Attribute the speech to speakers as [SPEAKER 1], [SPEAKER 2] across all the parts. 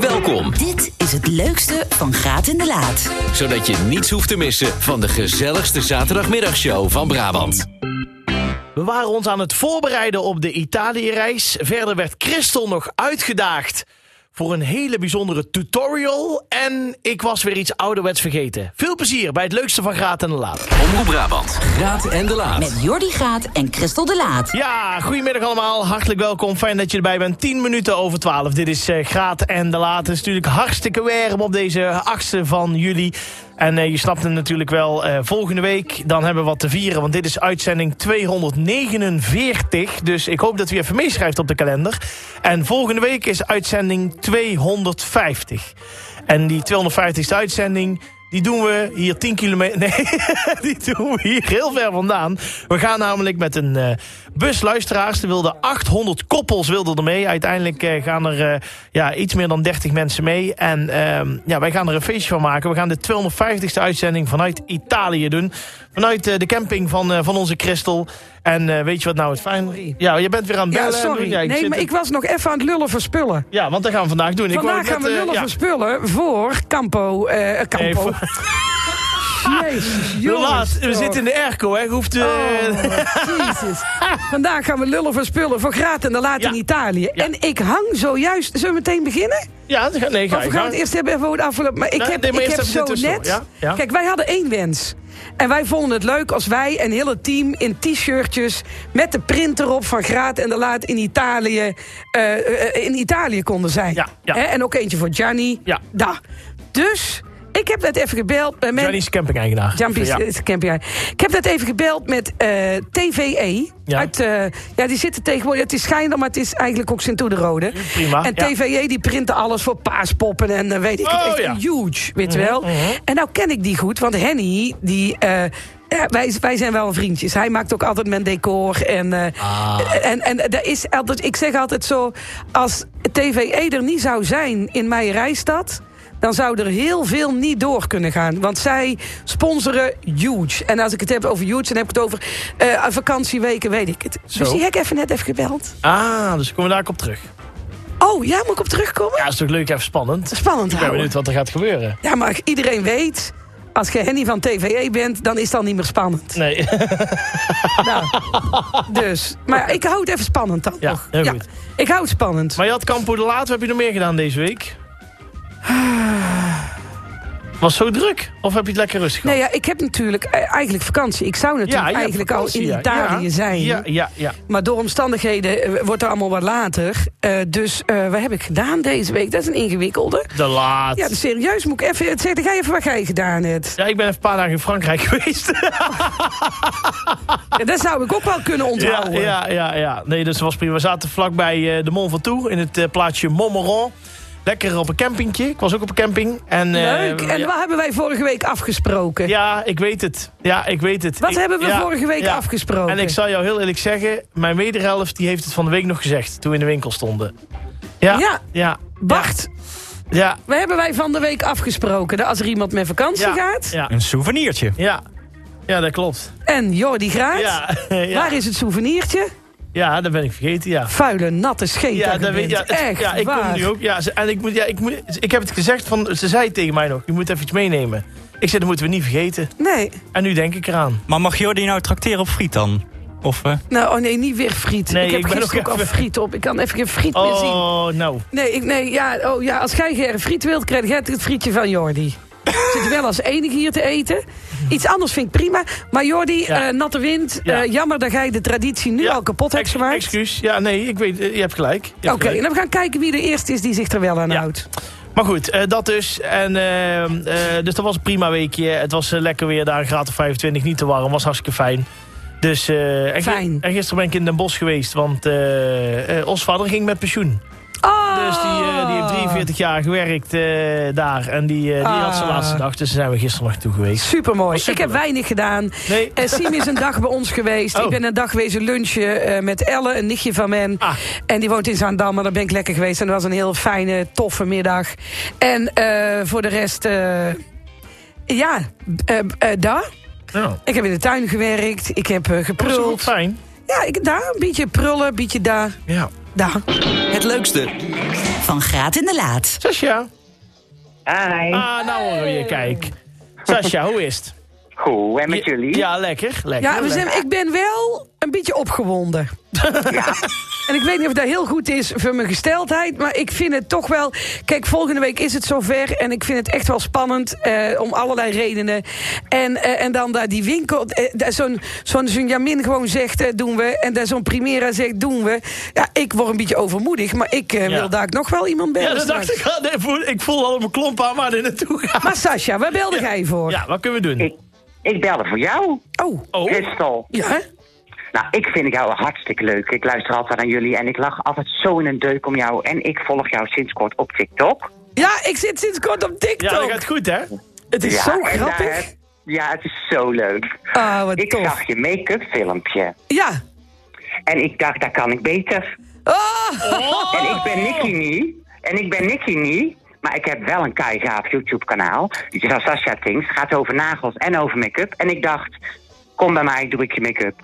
[SPEAKER 1] Welkom,
[SPEAKER 2] Dit is het leukste van Graat in de Laat.
[SPEAKER 1] zodat je niets hoeft te missen van de gezelligste zaterdagmiddagshow van Brabant.
[SPEAKER 3] We waren ons aan het voorbereiden op de Italië-reis. Verder werd Christel nog uitgedaagd voor een hele bijzondere tutorial. En ik was weer iets ouderwets vergeten. Veel plezier bij het leukste van Graat en de Laat.
[SPEAKER 1] Omroep Brabant, Graat en de Laat.
[SPEAKER 2] Met Jordi Graat en Christel de Laat.
[SPEAKER 3] Ja, goedemiddag allemaal. Hartelijk welkom. Fijn dat je erbij bent. 10 minuten over 12. Dit is eh, Graat en de Laat. Het is natuurlijk hartstikke warm op deze 8e van juli. En eh, je snapt het natuurlijk wel. eh, volgende week dan hebben we wat te vieren. Want dit is uitzending 249. Dus ik hoop dat u even meeschrijft op de kalender. En volgende week is uitzending 250. En die 250ste uitzending... Die doen we hier 10 kilometer. Nee, die doen we hier heel ver vandaan. We gaan namelijk met een eh, bus luisteraars. Er wilden 800 koppels wilden er mee. Uiteindelijk eh, gaan er eh, ja, iets meer dan 30 mensen mee. En ehm, ja, wij gaan er een feestje van maken. We gaan de 250ste uitzending vanuit Italië doen. Vanuit eh, de camping van, eh, van onze Christel. En eh, weet je wat nou het fijn... Ja, je bent weer aan het
[SPEAKER 4] Ja,
[SPEAKER 3] bellen.
[SPEAKER 4] sorry.
[SPEAKER 3] Ja, ik
[SPEAKER 4] nee,
[SPEAKER 3] zit-
[SPEAKER 4] maar ik was nog even aan het lullen voor spullen.
[SPEAKER 3] ja, want dat gaan we vandaag doen. Ik wou
[SPEAKER 4] Vandaag gaan
[SPEAKER 3] net, eh,
[SPEAKER 4] we lullen
[SPEAKER 3] ja.
[SPEAKER 4] voor spullen voor Campo. eh eh,
[SPEAKER 3] Nee,
[SPEAKER 4] Campo.
[SPEAKER 3] voor-
[SPEAKER 4] Jezus,
[SPEAKER 3] Hoe
[SPEAKER 4] jongens,
[SPEAKER 3] laat? we
[SPEAKER 4] toch.
[SPEAKER 3] zitten in de airco, hè. Je hoeft... eh,
[SPEAKER 4] Oh, Jezus. Vandaag gaan we lullen voor spullen voor Graat en de Laat
[SPEAKER 3] Ja.
[SPEAKER 4] in Italië.
[SPEAKER 3] Ja.
[SPEAKER 4] En ik hang zojuist... Zullen we meteen beginnen?
[SPEAKER 3] Ja, nee, ga je
[SPEAKER 4] Of we gaan
[SPEAKER 3] gang.
[SPEAKER 4] het eerst hebben over het afgelopen... Maar ik
[SPEAKER 3] Nee,
[SPEAKER 4] heb,
[SPEAKER 3] nee, maar
[SPEAKER 4] ik
[SPEAKER 3] eerst
[SPEAKER 4] heb
[SPEAKER 3] even
[SPEAKER 4] zo
[SPEAKER 3] dit tussendoor,
[SPEAKER 4] net...
[SPEAKER 3] ja, ja.
[SPEAKER 4] Kijk, wij hadden één wens. En wij vonden het leuk als wij en heel het team in t-shirtjes... met de print erop van Graat en de Laat in Italië... eh, eh, in Italië konden zijn.
[SPEAKER 3] Ja, ja.
[SPEAKER 4] Hè, En ook eentje voor Gianni.
[SPEAKER 3] Ja.
[SPEAKER 4] Da. Dus ik heb net even gebeld... met mijn-
[SPEAKER 3] Johnny is camping-eigenaar.
[SPEAKER 4] Jumpy's
[SPEAKER 3] Ja.
[SPEAKER 4] is campjaar. Ik heb net even gebeld met eh, TVE.
[SPEAKER 3] Ja.
[SPEAKER 4] Uit, eh, ja, die zitten tegenwoordig. Het is Schijndel, maar het is eigenlijk ook Sint de Rode.
[SPEAKER 3] prima,
[SPEAKER 4] En
[SPEAKER 3] ja.
[SPEAKER 4] TVE die printen alles voor paaspoppen en eh, weet ik
[SPEAKER 3] Oh,
[SPEAKER 4] het. Echt
[SPEAKER 3] ja. Mhm,
[SPEAKER 4] huge, weet je wel. En nou ken ik die goed, want Henny, die... eh, ja, wij, wij zijn wel vriendjes. Hij maakt ook altijd mijn decor. En, eh,
[SPEAKER 3] Ah.
[SPEAKER 4] en, en er is altijd, ik zeg altijd zo... als TVE er niet zou zijn in mijn rijstad... dan zou er heel veel niet door kunnen gaan. Want zij sponsoren huge. En als ik het heb over huge, dan heb ik het over eh, vakantieweken, weet ik het. Dus die heb ik even net even gebeld.
[SPEAKER 3] Ah, dus komen we daar op terug.
[SPEAKER 4] Oh, ja, moet ik op terugkomen?
[SPEAKER 3] Ja, is toch leuk, even spannend. Ik
[SPEAKER 4] Spannend
[SPEAKER 3] ben
[SPEAKER 4] houden.
[SPEAKER 3] benieuwd wat er gaat gebeuren.
[SPEAKER 4] Ja, maar iedereen weet... Als je Henny van TVE bent, dan is dat niet meer spannend.
[SPEAKER 3] Nee,
[SPEAKER 4] Nou, dus. Maar ik hou het even spannend dan
[SPEAKER 3] Ja,
[SPEAKER 4] nog.
[SPEAKER 3] heel goed.
[SPEAKER 4] Ik hou het spannend.
[SPEAKER 3] maar je had Campo de Laat. Wat heb je nog meer gedaan deze week? Was zo druk? Of heb je het lekker rustig
[SPEAKER 4] Nee,
[SPEAKER 3] gehad?
[SPEAKER 4] ja, ik heb natuurlijk eh, eigenlijk vakantie. Ik zou natuurlijk
[SPEAKER 3] je hebt
[SPEAKER 4] eigenlijk
[SPEAKER 3] vakantie,
[SPEAKER 4] al in
[SPEAKER 3] ja.
[SPEAKER 4] Italië
[SPEAKER 3] Ja,
[SPEAKER 4] zijn.
[SPEAKER 3] Ja, ja, ja.
[SPEAKER 4] Maar door omstandigheden eh, wordt er allemaal wat later. Eh, dus eh, wat heb ik gedaan deze week? Dat is een ingewikkelde.
[SPEAKER 3] De Laat.
[SPEAKER 4] Ja,
[SPEAKER 3] Ja,
[SPEAKER 4] dus serieus moet ik even... Zeg, ga even wat jij gedaan hebt.
[SPEAKER 3] ik ben even een paar dagen in Frankrijk geweest.
[SPEAKER 4] Ja, dat zou ik ook wel kunnen
[SPEAKER 3] Ja,
[SPEAKER 4] onthouden.
[SPEAKER 3] ja, ja, ja. Nee, dus dat was prima. We zaten vlakbij eh, de Mont Ventoux in het eh, plaatsje Montmoron. Lekker op een campingje. Ik was ook op een camping. En, eh,
[SPEAKER 4] Leuk. En
[SPEAKER 3] ja,
[SPEAKER 4] wat hebben wij vorige week afgesproken?
[SPEAKER 3] ja, ik weet het. Ja, ik weet het.
[SPEAKER 4] Wat
[SPEAKER 3] Ik-
[SPEAKER 4] hebben we
[SPEAKER 3] ja,
[SPEAKER 4] vorige week
[SPEAKER 3] ja.
[SPEAKER 4] afgesproken?
[SPEAKER 3] En ik zal jou heel eerlijk zeggen, mijn wederhelft die heeft het van de week nog gezegd toen we in de winkel stonden. Ja, ja,
[SPEAKER 4] Ja.
[SPEAKER 3] ja,
[SPEAKER 4] Bart,
[SPEAKER 3] ja,
[SPEAKER 4] wat hebben wij van de week afgesproken? Dat als er iemand met vakantie
[SPEAKER 3] ja,
[SPEAKER 4] gaat...
[SPEAKER 3] Ja,
[SPEAKER 5] Een souvenirtje.
[SPEAKER 3] ja, ja, dat klopt.
[SPEAKER 4] En Jordi Graat,
[SPEAKER 3] Ja, ja,
[SPEAKER 4] waar is het souvenirtje?
[SPEAKER 3] ja, dat ben ik vergeten, ja.
[SPEAKER 4] Vuile, natte scheet.
[SPEAKER 3] Ja,
[SPEAKER 4] dat je
[SPEAKER 3] weet
[SPEAKER 4] bent.
[SPEAKER 3] ja, het-
[SPEAKER 4] Echt
[SPEAKER 3] ja, ik kom
[SPEAKER 4] waar.
[SPEAKER 3] nu ook. Ja, ze- en ik, moet, ja, ik, moet, ik heb het gezegd, van, ze zei tegen mij nog, je moet even iets meenemen. Ik zei, dat moeten we niet vergeten.
[SPEAKER 4] Nee,
[SPEAKER 3] En nu denk ik eraan.
[SPEAKER 5] Maar mag Jordi nou trakteren op friet dan? Of, eh,
[SPEAKER 4] nou, oh nee, niet weer friet.
[SPEAKER 3] Nee,
[SPEAKER 4] ik heb
[SPEAKER 3] ik ben
[SPEAKER 4] gisteren
[SPEAKER 3] ook
[SPEAKER 4] ook, al
[SPEAKER 3] even-
[SPEAKER 4] friet op. Ik kan even geen friet meer zien.
[SPEAKER 3] Oh, nou.
[SPEAKER 4] Nee, ik, nee ja, oh, ja, als jij geen friet wilt, krijg jij het frietje van Jordi. Ik Zit wel als enige hier te eten. Iets anders vind ik prima. Maar Jordi,
[SPEAKER 3] Ja.
[SPEAKER 4] eh, natte wind.
[SPEAKER 3] Ja.
[SPEAKER 4] eh, jammer dat jij de traditie nu
[SPEAKER 3] Ja,
[SPEAKER 4] al kapot hebt
[SPEAKER 3] ex-
[SPEAKER 4] gemaakt.
[SPEAKER 3] Excuus. Ja, nee, ik weet, eh, je hebt gelijk. Je hebt
[SPEAKER 4] Oké, nou-
[SPEAKER 3] gelijk.
[SPEAKER 4] en dan gaan we kijken wie de eerste is die zich er wel aan
[SPEAKER 3] Ja.
[SPEAKER 4] houdt.
[SPEAKER 3] Maar goed, eh, dat dus. En, eh, eh, dus dat was een prima weekje. Het was eh, lekker weer daar, een graad of 25, niet te warm. Was hartstikke fijn. Dus, eh, en, gi-
[SPEAKER 4] Fijn.
[SPEAKER 3] en gisteren ben ik in Den Bosch geweest, want eh, eh, ons vader ging met pensioen.
[SPEAKER 4] Oh!
[SPEAKER 3] Dus die, eh, die heeft 43 jaar gewerkt eh, daar. En die, eh, die had zijn
[SPEAKER 4] Ah.
[SPEAKER 3] laatste dag, dus daar zijn we gisteren nog toe geweest.
[SPEAKER 4] Supermooi. Ik heb
[SPEAKER 3] superleuk.
[SPEAKER 4] weinig gedaan.
[SPEAKER 3] Nee,
[SPEAKER 4] Eh, Siem is een dag bij ons geweest.
[SPEAKER 3] Oh.
[SPEAKER 4] Ik ben een dag wezen lunchen eh, met Elle, een nichtje van men.
[SPEAKER 3] Ah.
[SPEAKER 4] En die woont in Zaandam, maar daar ben ik lekker geweest. En dat was een heel fijne, toffe middag. En eh, voor de rest... eh, ja, eh eh, daar.
[SPEAKER 3] nou,
[SPEAKER 4] Ik heb in de tuin gewerkt. Ik heb
[SPEAKER 3] dat was
[SPEAKER 4] eh,
[SPEAKER 3] toch ook
[SPEAKER 4] gepruld.
[SPEAKER 3] fijn.
[SPEAKER 4] Ja, ik, daar. Een beetje prullen, een beetje daar.
[SPEAKER 3] Ja.
[SPEAKER 4] Dag.
[SPEAKER 1] Het leukste
[SPEAKER 2] Van Graat in de Laat.
[SPEAKER 3] Sascha.
[SPEAKER 6] Hi.
[SPEAKER 3] Ah, nou horen we je, kijk. Sascha, hoe is het?
[SPEAKER 6] Goed, en met
[SPEAKER 3] Je-
[SPEAKER 6] jullie?
[SPEAKER 3] Ja, lekker. lekker
[SPEAKER 4] Ja, we zijn, ik ben wel een beetje opgewonden. En ik weet niet of dat heel goed is voor mijn gesteldheid. Maar ik vind het toch wel. Kijk, volgende week is het zover. En ik vind het echt wel spannend. eh, om allerlei redenen. En, eh, en dan daar die winkel. eh, daar zo'n zo'n zo'n Jamin gewoon zegt: eh, doen we. En daar zo'n Primera zegt: doen we. Ja, ik word een beetje overmoedig. Maar ik eh,
[SPEAKER 3] Ja.
[SPEAKER 4] wil daar nog wel iemand bellen.
[SPEAKER 3] Ja, dat
[SPEAKER 4] straks.
[SPEAKER 3] dacht ik al. Nee, voel- ik voel al mijn klomp aan waar dit naartoe gaat.
[SPEAKER 4] Maar Sascha, waar belde jij voor?
[SPEAKER 3] Ja, wat kunnen we doen?
[SPEAKER 6] Ik, ik belde voor jou,
[SPEAKER 4] Oh,
[SPEAKER 3] Oh,
[SPEAKER 6] Christel.
[SPEAKER 4] ja.
[SPEAKER 6] Nou, ik vind jou hartstikke leuk. Ik luister altijd aan jullie en ik lag altijd zo in een deuk om jou. En ik volg jou sinds kort op TikTok.
[SPEAKER 4] Ja, ik zit sinds kort op
[SPEAKER 3] ja, dat
[SPEAKER 4] TikTok.
[SPEAKER 3] gaat goed, hè?
[SPEAKER 4] het is
[SPEAKER 6] Ja,
[SPEAKER 4] zo
[SPEAKER 6] en daar
[SPEAKER 4] grappig.
[SPEAKER 6] heb- ja, het is zo leuk.
[SPEAKER 4] Ah, wat
[SPEAKER 6] ik
[SPEAKER 4] tof.
[SPEAKER 6] zag je make-up filmpje.
[SPEAKER 4] Ja.
[SPEAKER 6] En ik dacht, daar kan ik beter.
[SPEAKER 4] Oh,
[SPEAKER 6] En ik ben Nicky Nie. En ik ben Nicky Nie. Maar ik heb wel een keigaaf YouTube-kanaal. Dus Die is Sasha Things. Gaat over nagels en over make-up. En ik dacht, kom bij mij, doe ik je make-up.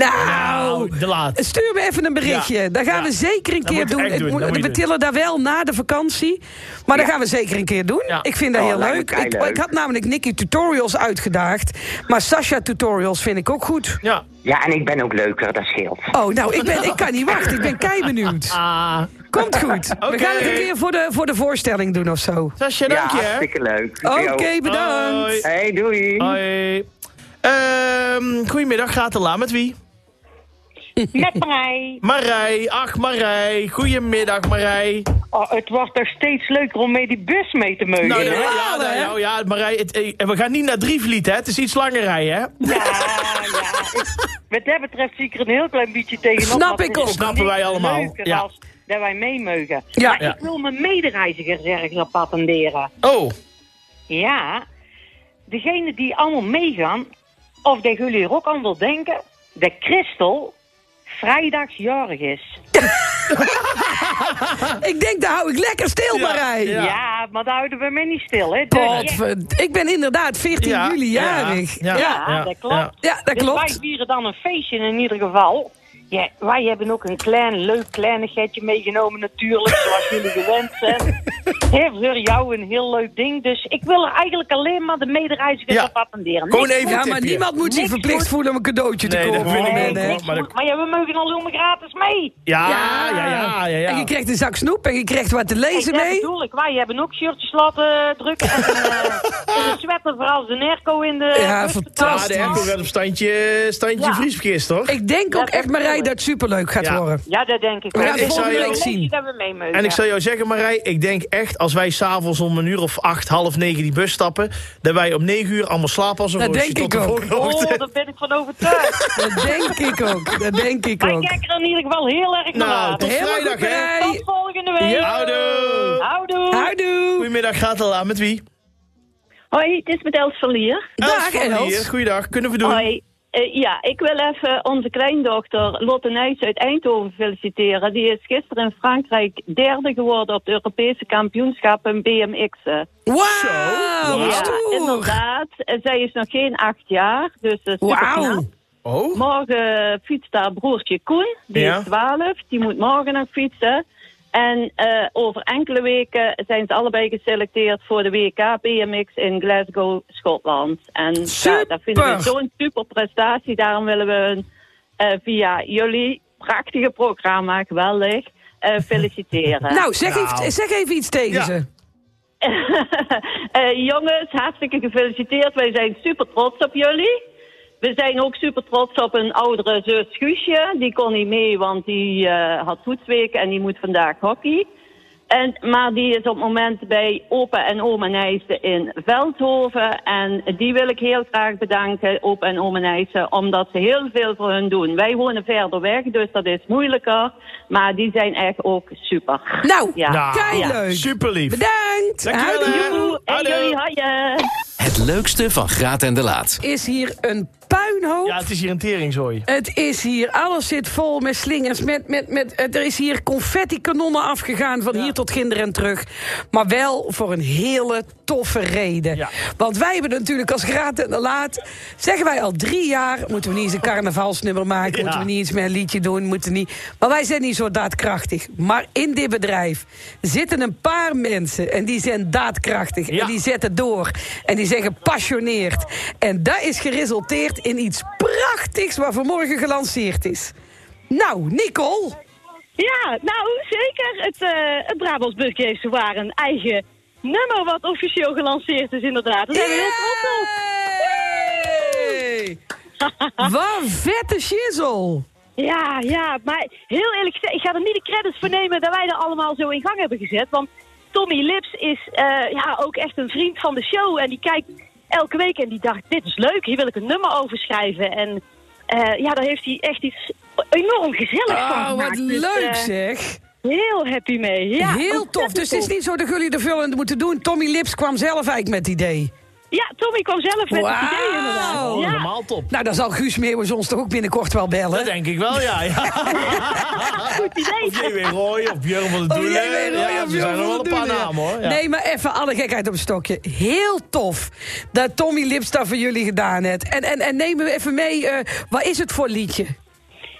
[SPEAKER 4] nou.
[SPEAKER 3] Nou, de laat.
[SPEAKER 4] Stuur me even een berichtje.
[SPEAKER 3] Ja.
[SPEAKER 4] Dat gaan
[SPEAKER 3] Ja.
[SPEAKER 4] we zeker een
[SPEAKER 3] Dat
[SPEAKER 4] keer
[SPEAKER 3] moeten we
[SPEAKER 4] doen.
[SPEAKER 3] echt
[SPEAKER 4] Ik
[SPEAKER 3] doen.
[SPEAKER 4] moet-
[SPEAKER 3] Dat moet je
[SPEAKER 4] we
[SPEAKER 3] doen.
[SPEAKER 4] tillen daar wel na de vakantie. Maar dat gaan we zeker een keer doen.
[SPEAKER 3] Ja.
[SPEAKER 4] Ik vind dat
[SPEAKER 6] Oh,
[SPEAKER 4] heel
[SPEAKER 6] lijkt me
[SPEAKER 4] leuk. Ik,
[SPEAKER 6] keileuk.
[SPEAKER 4] ik had namelijk Nicky Tutorials uitgedaagd. Maar Sasha Tutorials vind ik ook goed.
[SPEAKER 3] Ja.
[SPEAKER 6] Ja, en ik ben ook leuker, dat scheelt.
[SPEAKER 4] Oh, nou, ik, ben, ik kan niet wachten. Ik ben kei benieuwd.
[SPEAKER 3] Ah,
[SPEAKER 4] Komt goed.
[SPEAKER 3] Oké.
[SPEAKER 4] We gaan het een keer voor de, voor de voorstelling doen of zo.
[SPEAKER 3] Sascha,
[SPEAKER 6] ja,
[SPEAKER 3] dank je, hè?
[SPEAKER 6] hartstikke leuk.
[SPEAKER 4] Oké,
[SPEAKER 6] Yo.
[SPEAKER 4] bedankt.
[SPEAKER 3] Hoi.
[SPEAKER 6] Hey, doei.
[SPEAKER 3] Hoi. Ehm, goedemiddag, gaat de la met wie?
[SPEAKER 7] Met Marij.
[SPEAKER 3] Marij, ach Marij, goedemiddag Marij.
[SPEAKER 7] Oh, het wordt toch steeds leuker om mee die bus mee te meugen.
[SPEAKER 3] Nou,
[SPEAKER 4] Inderdaad,
[SPEAKER 3] ja, nou,
[SPEAKER 4] hè?
[SPEAKER 3] nou, ja, Marij, het, eh, we gaan niet naar Drievliet, hè? Het is iets langer rijden, hè?
[SPEAKER 7] ja, Ah, ja. Ik- wat dat betreft zie ik er een heel klein beetje tegenop.
[SPEAKER 4] Snap
[SPEAKER 7] want er
[SPEAKER 4] ik
[SPEAKER 7] is
[SPEAKER 4] ook.
[SPEAKER 3] Snappen wij
[SPEAKER 7] niks
[SPEAKER 3] allemaal,
[SPEAKER 7] leuker
[SPEAKER 3] ja.
[SPEAKER 7] als dat wij meemeugen.
[SPEAKER 4] Ja.
[SPEAKER 7] maar
[SPEAKER 3] Ja.
[SPEAKER 7] ik wil mijn medereizigers ergens op attenderen.
[SPEAKER 3] Oh,
[SPEAKER 7] Ja, degene die allemaal meegaan, of dat jullie er ook aan wil denken, dat Christel vrijdags jarig is.
[SPEAKER 4] Ik denk, daar hou ik lekker stil,
[SPEAKER 3] Ja,
[SPEAKER 4] Marij.
[SPEAKER 3] ja.
[SPEAKER 7] Ja, maar daar houden we mij niet stil, hè. Dus-
[SPEAKER 4] Potverd- Ik ben inderdaad 14
[SPEAKER 3] ja.
[SPEAKER 4] juli jarig.
[SPEAKER 3] Ja, ja,
[SPEAKER 7] Ja, dat klopt.
[SPEAKER 3] ja.
[SPEAKER 4] Ja, dat
[SPEAKER 7] Dus
[SPEAKER 4] klopt.
[SPEAKER 7] wij vieren dan een feestje in ieder geval. Ja, wij hebben ook een klein, leuk kleinigheidje meegenomen natuurlijk, zoals jullie gewend zijn. Hè, voor jou een heel leuk ding. Dus ik wil er eigenlijk alleen maar de medereizigers
[SPEAKER 3] Ja.
[SPEAKER 7] op attenderen.
[SPEAKER 3] Gewoon
[SPEAKER 7] Niks
[SPEAKER 3] even
[SPEAKER 4] Ja,
[SPEAKER 3] een
[SPEAKER 4] maar
[SPEAKER 3] tipje.
[SPEAKER 4] niemand moet zich
[SPEAKER 7] Niks
[SPEAKER 4] verplicht
[SPEAKER 7] goed.
[SPEAKER 4] voelen om een cadeautje te
[SPEAKER 3] Nee, dat
[SPEAKER 4] kopen.
[SPEAKER 3] vind ik
[SPEAKER 7] voor-
[SPEAKER 3] ook,
[SPEAKER 4] nee.
[SPEAKER 7] niks
[SPEAKER 3] maar dat-
[SPEAKER 7] goed. maar ja, we mogen allemaal gratis mee.
[SPEAKER 3] Ja, ja, ja, ja. ja.
[SPEAKER 4] En je krijgt een zak snoep en je krijgt wat te lezen
[SPEAKER 7] dat
[SPEAKER 4] mee.
[SPEAKER 7] bedoel ik. Wij hebben ook shirtjes laten drukken. En een, eh, en een sweater voor als de airco in de...
[SPEAKER 4] Ja,
[SPEAKER 7] bus te
[SPEAKER 3] Ja,
[SPEAKER 4] fantastisch.
[SPEAKER 3] de
[SPEAKER 7] plaatsen.
[SPEAKER 3] airco werd op standje, standje
[SPEAKER 7] Ja.
[SPEAKER 3] vriesverkeerd, toch?
[SPEAKER 4] Ik denk
[SPEAKER 7] Ja,
[SPEAKER 4] ook
[SPEAKER 7] dat
[SPEAKER 4] echt, Marij,
[SPEAKER 7] bedoel ik.
[SPEAKER 4] dat het superleuk gaat
[SPEAKER 3] Ja.
[SPEAKER 4] worden.
[SPEAKER 7] Ja, dat denk ik
[SPEAKER 4] We
[SPEAKER 7] wel.
[SPEAKER 4] gaan
[SPEAKER 7] Ik
[SPEAKER 3] volgende
[SPEAKER 7] wil
[SPEAKER 3] week
[SPEAKER 7] een
[SPEAKER 4] zien.
[SPEAKER 7] feestje Dat we mee mogen.
[SPEAKER 3] En ik zal jou zeggen, Marij, ik denk echt als wij s'avonds om een uur of acht, half negen die bus stappen, dat wij om negen uur allemaal slapen als een
[SPEAKER 4] Dat
[SPEAKER 3] roosje
[SPEAKER 4] denk
[SPEAKER 3] tot
[SPEAKER 4] ik
[SPEAKER 3] de
[SPEAKER 4] ook.
[SPEAKER 3] volgende ochtend.
[SPEAKER 7] Oh, daar ben ik van overtuigd.
[SPEAKER 4] Dat denk ik ook. Dat denk ik
[SPEAKER 7] Maar ik
[SPEAKER 4] ook.
[SPEAKER 7] kijk er in ieder geval heel erg naar
[SPEAKER 3] Nou,
[SPEAKER 7] uit.
[SPEAKER 3] tot
[SPEAKER 4] Helemaal
[SPEAKER 3] vrijdag,
[SPEAKER 4] goed,
[SPEAKER 3] hè?
[SPEAKER 4] Marij.
[SPEAKER 7] Tot volgende week.
[SPEAKER 3] Houdoe.
[SPEAKER 7] Houdoe.
[SPEAKER 4] Houdoe.
[SPEAKER 3] Goedemiddag, gaat al aan met wie?
[SPEAKER 8] Hoi, het is met Els van Lier.
[SPEAKER 4] Dag,
[SPEAKER 3] van
[SPEAKER 4] Els.
[SPEAKER 3] Lier. Goeiedag, kunnen we doen?
[SPEAKER 8] Hoi. Eh, ja, ik wil even onze kleindochter Lotte Nijs uit Eindhoven feliciteren. Die is gisteren in Frankrijk derde geworden op de Europese kampioenschappen BMX'en.
[SPEAKER 4] Wauw, Oh, wat
[SPEAKER 8] ja,
[SPEAKER 4] stoer.
[SPEAKER 8] inderdaad. En zij is nog geen acht jaar, dus eh, super knap.
[SPEAKER 4] Wauw.
[SPEAKER 3] Oh,
[SPEAKER 8] Morgen fietst haar broertje Koen, die
[SPEAKER 3] Ja.
[SPEAKER 8] is 12. Die moet morgen nog fietsen. En eh, over enkele weken zijn ze allebei geselecteerd voor de WK BMX in Glasgow, Schotland. En ja,
[SPEAKER 4] Super!
[SPEAKER 8] dat vinden we zo'n super prestatie. Daarom willen we hun eh, via jullie prachtige programma, geweldig, eh, feliciteren.
[SPEAKER 4] Nou, zeg,
[SPEAKER 3] Nou.
[SPEAKER 4] Even, zeg even iets tegen
[SPEAKER 3] Ja.
[SPEAKER 4] ze.
[SPEAKER 8] Eh, jongens, hartstikke gefeliciteerd. Wij zijn super trots op jullie. We zijn ook super trots op een oudere zus Guusje. Die kon niet mee, want die eh, had toetsweek en die moet vandaag hockey. En, maar die is op het moment bij opa en oma Nijssen in Veldhoven. En die wil ik heel graag bedanken, opa en oma Nijssen, omdat ze heel veel voor hun doen. Wij wonen verder weg, dus dat is moeilijker. Maar die zijn echt ook super.
[SPEAKER 4] Nou,
[SPEAKER 8] Ja.
[SPEAKER 4] kei
[SPEAKER 8] Ja.
[SPEAKER 4] leuk.
[SPEAKER 3] super lief.
[SPEAKER 4] Bedankt.
[SPEAKER 3] Dankjewel,
[SPEAKER 4] Houdoe.
[SPEAKER 3] hè.
[SPEAKER 8] Doei, en
[SPEAKER 3] Hallo.
[SPEAKER 8] jullie haaien.
[SPEAKER 1] Het leukste van Graat en de Laat.
[SPEAKER 4] Is hier een puin puinhoop.
[SPEAKER 3] Ja, het is hier een teringzooi.
[SPEAKER 4] Het is hier, alles zit vol met slingers. Met, met, met, het- er is hier confetti-kanonnen afgegaan van hier tot Ginder en terug. Maar wel voor een hele toffe reden.
[SPEAKER 3] Ja.
[SPEAKER 4] Want wij hebben natuurlijk als Graat en de Laat... zeggen wij al drie jaar, moeten we niet eens een carnavalsnummer maken...
[SPEAKER 3] Ja.
[SPEAKER 4] moeten we niet eens met een liedje doen, moeten niet... Maar wij zijn niet zo daadkrachtig. Maar in dit bedrijf zitten een paar mensen en die zijn daadkrachtig.
[SPEAKER 3] Ja.
[SPEAKER 4] En die zetten door. En die zijn gepassioneerd. En dat is geresulteerd in iets prachtigs wat vanmorgen gelanceerd is. Nou, Nicole.
[SPEAKER 8] Ja, nou zeker. Het, eh het Brabants Burger heeft zowaar een eigen nummer wat officieel gelanceerd is inderdaad. Daar zijn we heel trots op.
[SPEAKER 4] Yay! Wat vette shizzle.
[SPEAKER 8] Ja, ja, maar heel eerlijk gezegd, ik ga er niet de credits voor nemen dat wij er allemaal zo in gang hebben gezet. Want Tommy Lips is eh, ja, ook echt een vriend van de show. En die kijkt elke week en die dacht, dit is leuk, hier wil ik een nummer over schrijven. En eh, ja, daar heeft hij echt iets enorm gezelligs van
[SPEAKER 4] Oh,
[SPEAKER 8] gemaakt.
[SPEAKER 4] wat
[SPEAKER 8] Dus,
[SPEAKER 4] leuk
[SPEAKER 8] eh,
[SPEAKER 4] zeg.
[SPEAKER 8] heel happy mee. Ja,
[SPEAKER 4] Heel
[SPEAKER 8] ontzettend
[SPEAKER 4] tof. Dus het is niet zo dat jullie de vullend moeten doen. Tommy Lips kwam zelf eigenlijk met het idee.
[SPEAKER 8] Ja, Tommy kwam zelf met het idee
[SPEAKER 4] Wauw.
[SPEAKER 8] inderdaad. Ja.
[SPEAKER 3] Normaal top.
[SPEAKER 4] Nou, dan zal Guus Meeuwis ons toch ook binnenkort wel
[SPEAKER 3] Dat
[SPEAKER 4] bellen.
[SPEAKER 3] denk ik wel, ja. ja.
[SPEAKER 8] Goed idee.
[SPEAKER 3] Of J.W. Roy, of Björn van de
[SPEAKER 4] Oh,
[SPEAKER 3] Doelen.
[SPEAKER 4] jij weet wel,
[SPEAKER 3] ja,
[SPEAKER 4] ja,
[SPEAKER 3] er zijn er wel een paar
[SPEAKER 4] voldoende.
[SPEAKER 3] namen, hoor. Ja.
[SPEAKER 4] Nee, maar even alle gekheid op een stokje. Heel tof dat Tommy Lips dat voor jullie gedaan heeft. En, en, en neem me even mee, eh, wat is het voor liedje?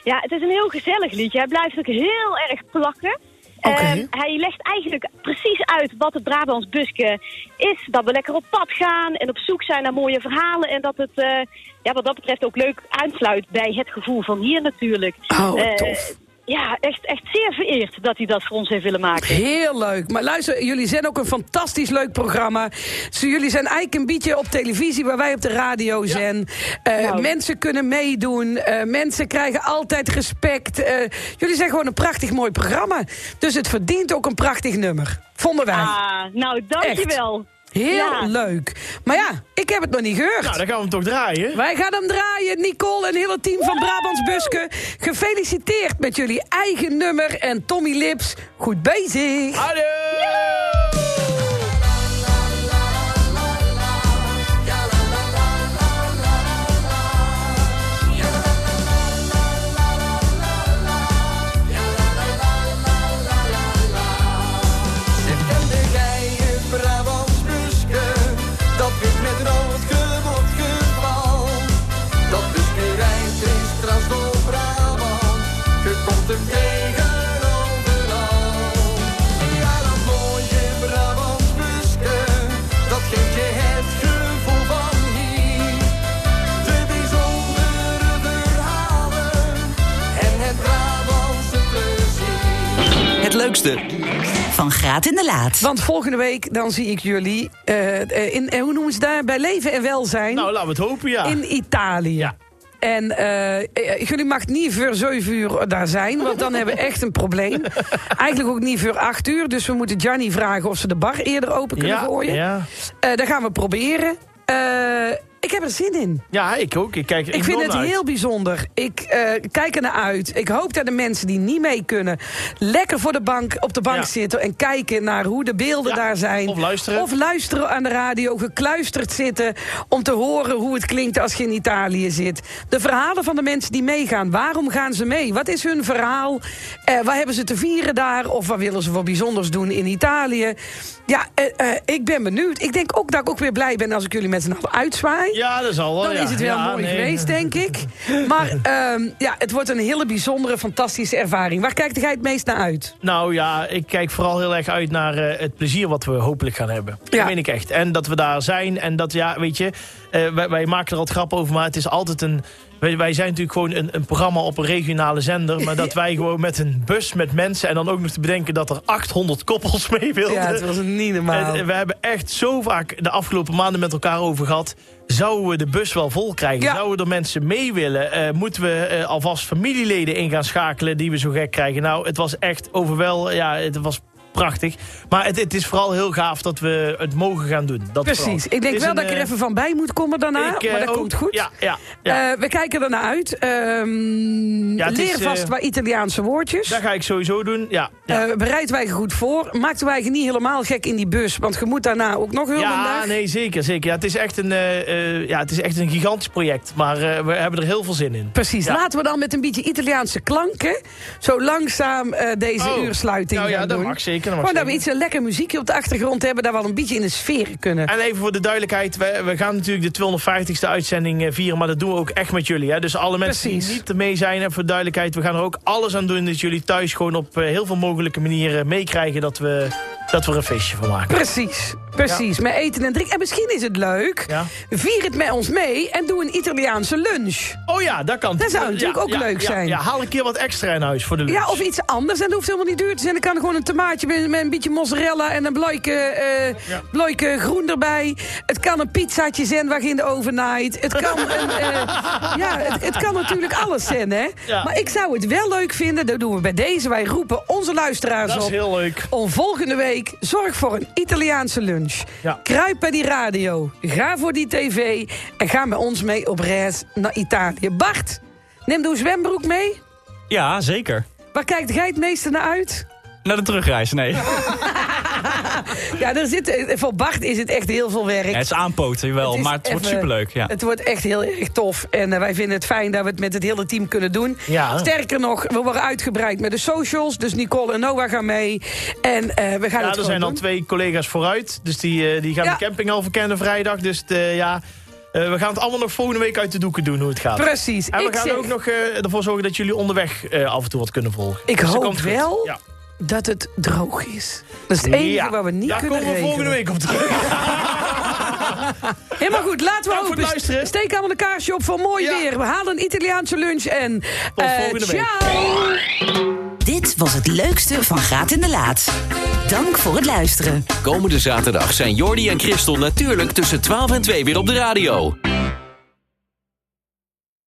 [SPEAKER 8] Ja, het is een heel gezellig liedje. Hij blijft ook heel erg plakken.
[SPEAKER 3] Oké.
[SPEAKER 8] Ehm, hij legt eigenlijk precies uit wat het Brabants busken is. Dat we lekker op pad gaan en op zoek zijn naar mooie verhalen. En dat het eh, ja, wat dat betreft ook leuk aansluit bij het gevoel van hier natuurlijk.
[SPEAKER 4] Oh, wat
[SPEAKER 8] Eh,
[SPEAKER 4] tof.
[SPEAKER 8] Ja, echt, echt zeer vereerd dat hij dat voor ons heeft willen maken.
[SPEAKER 4] Heel leuk. Maar luister, jullie zijn ook een fantastisch leuk programma. Zo, jullie zijn eigenlijk een beetje op televisie waar wij op de radio zijn. Eh,
[SPEAKER 8] Nou.
[SPEAKER 4] Mensen kunnen meedoen. eh, mensen krijgen altijd respect. Eh, jullie zijn gewoon een prachtig mooi programma. Dus het verdient ook een prachtig nummer. Vonden wij.
[SPEAKER 8] Ah, nou, dankjewel.
[SPEAKER 4] Heel
[SPEAKER 8] Ja.
[SPEAKER 4] leuk. Maar ja, ik heb het nog niet gehoord.
[SPEAKER 3] Nou, dan gaan we hem toch draaien.
[SPEAKER 4] Wij gaan hem draaien, Nicole en het hele team van Brabants Busken. Gefeliciteerd met jullie eigen nummer en Tommy Lips. Goed bezig.
[SPEAKER 3] Adieu!
[SPEAKER 9] Kende jij het Brabants buske, dat werd met rood geword gevald. Dat buske rijdt in straat door Brabant, je komt hem tegen overal. Ja, dat mooie Brabants buske, dat geeft je het gevoel van hier. De bijzondere verhalen en het Brabantse plezier.
[SPEAKER 1] Het leukste,
[SPEAKER 2] Van Graat in de Laat.
[SPEAKER 4] Want volgende week dan zie ik jullie eh, eh, in, eh, hoe noemen ze daar? Bij leven en welzijn
[SPEAKER 3] Nou, laten we het hopen, ja.
[SPEAKER 4] in Italië.
[SPEAKER 3] Ja.
[SPEAKER 4] En eh, eh, jullie mag niet voor 7 uur daar zijn, want dan hebben we echt een probleem. Eigenlijk ook niet voor 8 uur, dus we moeten Gianni vragen of ze de bar eerder open kunnen
[SPEAKER 3] ja,
[SPEAKER 4] gooien.
[SPEAKER 3] ja.
[SPEAKER 4] Eh, dat gaan we proberen. Eh, ik heb er zin in.
[SPEAKER 3] ja, ik ook. Ik, kijk,
[SPEAKER 4] Ik vind
[SPEAKER 3] enorm
[SPEAKER 4] het
[SPEAKER 3] uit.
[SPEAKER 4] heel bijzonder. Ik eh, kijk er naar uit. Ik hoop dat de mensen die niet mee kunnen... lekker voor de bank, op de bank
[SPEAKER 3] Ja.
[SPEAKER 4] zitten... en kijken naar hoe de beelden
[SPEAKER 3] Ja,
[SPEAKER 4] daar zijn.
[SPEAKER 3] of luisteren.
[SPEAKER 4] Of luisteren aan de radio, gekluisterd zitten... om te horen hoe het klinkt als je in Italië zit. De verhalen van de mensen die meegaan. Waarom gaan ze mee? Wat is hun verhaal? Eh wat hebben ze te vieren daar? Of wat willen ze voor bijzonders doen in Italië? Ja, eh, eh, ik ben benieuwd. Ik denk ook dat ik ook weer blij ben als ik jullie met z'n allen uitzwaai.
[SPEAKER 3] Ja, dat zal wel.
[SPEAKER 4] Dan
[SPEAKER 3] Oh ja.
[SPEAKER 4] is het wel
[SPEAKER 3] Ja,
[SPEAKER 4] mooi
[SPEAKER 3] nee.
[SPEAKER 4] geweest, denk ik. Maar ehm, ja, het wordt een hele bijzondere, fantastische ervaring. Waar kijkt jij het meest naar uit?
[SPEAKER 3] Nou ja, ik kijk vooral heel erg uit naar eh, het plezier wat we hopelijk gaan hebben.
[SPEAKER 4] Ja.
[SPEAKER 3] Dat meen ik echt. En dat we daar zijn. En dat, ja, weet je, eh, wij, wij maken er al grap over, maar het is altijd een... Wij, wij zijn natuurlijk gewoon een, een programma op een regionale zender. Maar dat wij gewoon met een bus met mensen... en dan ook nog te bedenken dat er 800 koppels mee wilden.
[SPEAKER 4] Ja, het was niet
[SPEAKER 3] En,
[SPEAKER 4] normaal.
[SPEAKER 3] eh, we hebben echt zo vaak de afgelopen maanden met elkaar over gehad. Zouden we de bus wel vol krijgen?
[SPEAKER 4] Ja.
[SPEAKER 3] Zouden er mensen mee willen? Eh, moeten we eh, alvast familieleden in gaan schakelen die we zo gek krijgen? Nou, het was echt overwel. Ja, het was prachtig. Maar het, het is vooral heel gaaf dat we het mogen gaan doen. Dat vooral.
[SPEAKER 4] Precies. Ik
[SPEAKER 3] Het
[SPEAKER 4] denk
[SPEAKER 3] is
[SPEAKER 4] wel
[SPEAKER 3] een,
[SPEAKER 4] dat ik er
[SPEAKER 3] eh,
[SPEAKER 4] even van bij moet komen daarna.
[SPEAKER 3] ik, eh,
[SPEAKER 4] maar dat
[SPEAKER 3] ook.
[SPEAKER 4] komt goed.
[SPEAKER 3] Ja, ja, ja.
[SPEAKER 4] Eh, we kijken ernaar uit. Ehm,
[SPEAKER 3] Ja, het
[SPEAKER 4] leer
[SPEAKER 3] is,
[SPEAKER 4] vast
[SPEAKER 3] eh,
[SPEAKER 4] wat Italiaanse woordjes.
[SPEAKER 3] dat ga ik sowieso doen. Ja, ja.
[SPEAKER 4] Eh, bereid wij goed voor. Maakt wij niet helemaal gek in die bus. Want je moet daarna ook nog heel een
[SPEAKER 3] ja
[SPEAKER 4] dag.
[SPEAKER 3] nee, zeker. zeker. Ja, het, is echt een, eh, eh, ja, het is echt een gigantisch project. Maar eh, we hebben er heel veel zin in.
[SPEAKER 4] Precies.
[SPEAKER 3] Ja.
[SPEAKER 4] Laten we dan met een beetje Italiaanse klanken... zo langzaam eh, deze
[SPEAKER 3] Oh.
[SPEAKER 4] uursluiting
[SPEAKER 3] Nou ja,
[SPEAKER 4] gaan
[SPEAKER 3] dat
[SPEAKER 4] doen.
[SPEAKER 3] mag zeker, dat mag zeker.
[SPEAKER 4] Gewoon dat we Oh, nou, iets een lekker muziekje op de achtergrond hebben... dat we al een beetje in de sfeer kunnen.
[SPEAKER 3] En even voor de duidelijkheid, we, we gaan natuurlijk de 250ste uitzending eh, vieren, maar dat doen we ook echt met jullie. Hè? Dus alle mensen
[SPEAKER 4] Precies.
[SPEAKER 3] die niet mee zijn, en voor de duidelijkheid, we gaan er ook alles aan doen dat jullie thuis gewoon op eh, heel veel mogelijke manieren meekrijgen dat we, dat we er een feestje van maken.
[SPEAKER 4] Precies, precies. Met eten en drinken. En misschien is het leuk.
[SPEAKER 3] Ja.
[SPEAKER 4] Vier het met ons mee en doe een Italiaanse lunch.
[SPEAKER 3] Oh ja, dat kan.
[SPEAKER 4] Dat zou
[SPEAKER 3] Ja,
[SPEAKER 4] natuurlijk ook
[SPEAKER 3] ja,
[SPEAKER 4] leuk
[SPEAKER 3] ja,
[SPEAKER 4] zijn.
[SPEAKER 3] Ja, haal een keer wat extra in huis voor de lunch.
[SPEAKER 4] Ja, of iets anders. En dat hoeft helemaal niet duur te zijn. Dan kan er gewoon een tomaatje met, met een beetje mozzarella en een bloike, eh,
[SPEAKER 3] Ja.
[SPEAKER 4] bloike groen erbij. Het kan een pizzaatje zijn waar je in de oven naait. Het kan, een, eh, ja, het, het kan natuurlijk alles zijn, hè.
[SPEAKER 3] Ja.
[SPEAKER 4] Maar ik zou het wel leuk vinden. Dat doen we bij deze. Wij roepen onze luisteraars
[SPEAKER 3] Dat is
[SPEAKER 4] op.
[SPEAKER 3] heel leuk.
[SPEAKER 4] Om volgende week zorg voor een Italiaanse lunch.
[SPEAKER 3] Ja.
[SPEAKER 4] Kruip bij die radio. Ga voor die tv. En ga met ons mee op reis naar Italië. Bart, neem de zwembroek mee.
[SPEAKER 5] Ja, zeker.
[SPEAKER 4] Waar kijkt jij het meeste naar uit?
[SPEAKER 5] Naar de terugreis, nee.
[SPEAKER 4] Ja, er zit, eh, voor Bart is het echt heel veel werk.
[SPEAKER 5] Ja, het is aanpoten, wel,
[SPEAKER 4] is
[SPEAKER 5] maar het wordt
[SPEAKER 4] even-
[SPEAKER 5] superleuk. Ja.
[SPEAKER 4] Het wordt echt heel erg tof. En eh, wij vinden het fijn dat we het met het hele team kunnen doen.
[SPEAKER 3] Ja.
[SPEAKER 4] Sterker nog, we worden uitgebreid met de socials. Dus Nicole en Noah gaan mee. En eh, we gaan
[SPEAKER 3] Ja,
[SPEAKER 4] het
[SPEAKER 3] er
[SPEAKER 4] gewoon
[SPEAKER 3] zijn al
[SPEAKER 4] doen.
[SPEAKER 3] twee collega's vooruit. Dus die, eh, die gaan
[SPEAKER 4] Ja.
[SPEAKER 3] de camping al verkennen vrijdag. Dus eh, ja, eh, we gaan het allemaal nog volgende week uit de doeken doen hoe het gaat.
[SPEAKER 4] Precies.
[SPEAKER 3] En we
[SPEAKER 4] ik
[SPEAKER 3] gaan
[SPEAKER 4] zeg-
[SPEAKER 3] ook nog eh, ervoor zorgen dat jullie onderweg eh, af en toe wat kunnen volgen.
[SPEAKER 4] Ik
[SPEAKER 3] dat
[SPEAKER 4] hoop
[SPEAKER 3] komt goed.
[SPEAKER 4] wel.
[SPEAKER 3] Ja.
[SPEAKER 4] dat het droog is. Dat is het enige
[SPEAKER 3] Ja.
[SPEAKER 4] waar we niet
[SPEAKER 3] Daar
[SPEAKER 4] kunnen
[SPEAKER 3] komen we
[SPEAKER 4] regelen.
[SPEAKER 3] volgende week op terug.
[SPEAKER 4] Helemaal goed, laten we
[SPEAKER 3] Dank voor het
[SPEAKER 4] hopen.
[SPEAKER 3] luisteren.
[SPEAKER 4] Steek allemaal een kaarsje op voor mooi
[SPEAKER 3] Ja.
[SPEAKER 4] weer. We halen een Italiaanse lunch en... eh, Tot
[SPEAKER 3] volgende week.
[SPEAKER 2] Dit was het leukste van Graat in de Laat. Dank voor het luisteren.
[SPEAKER 1] Komende zaterdag zijn Jordi en Christel natuurlijk tussen 12 en 2 weer op de radio.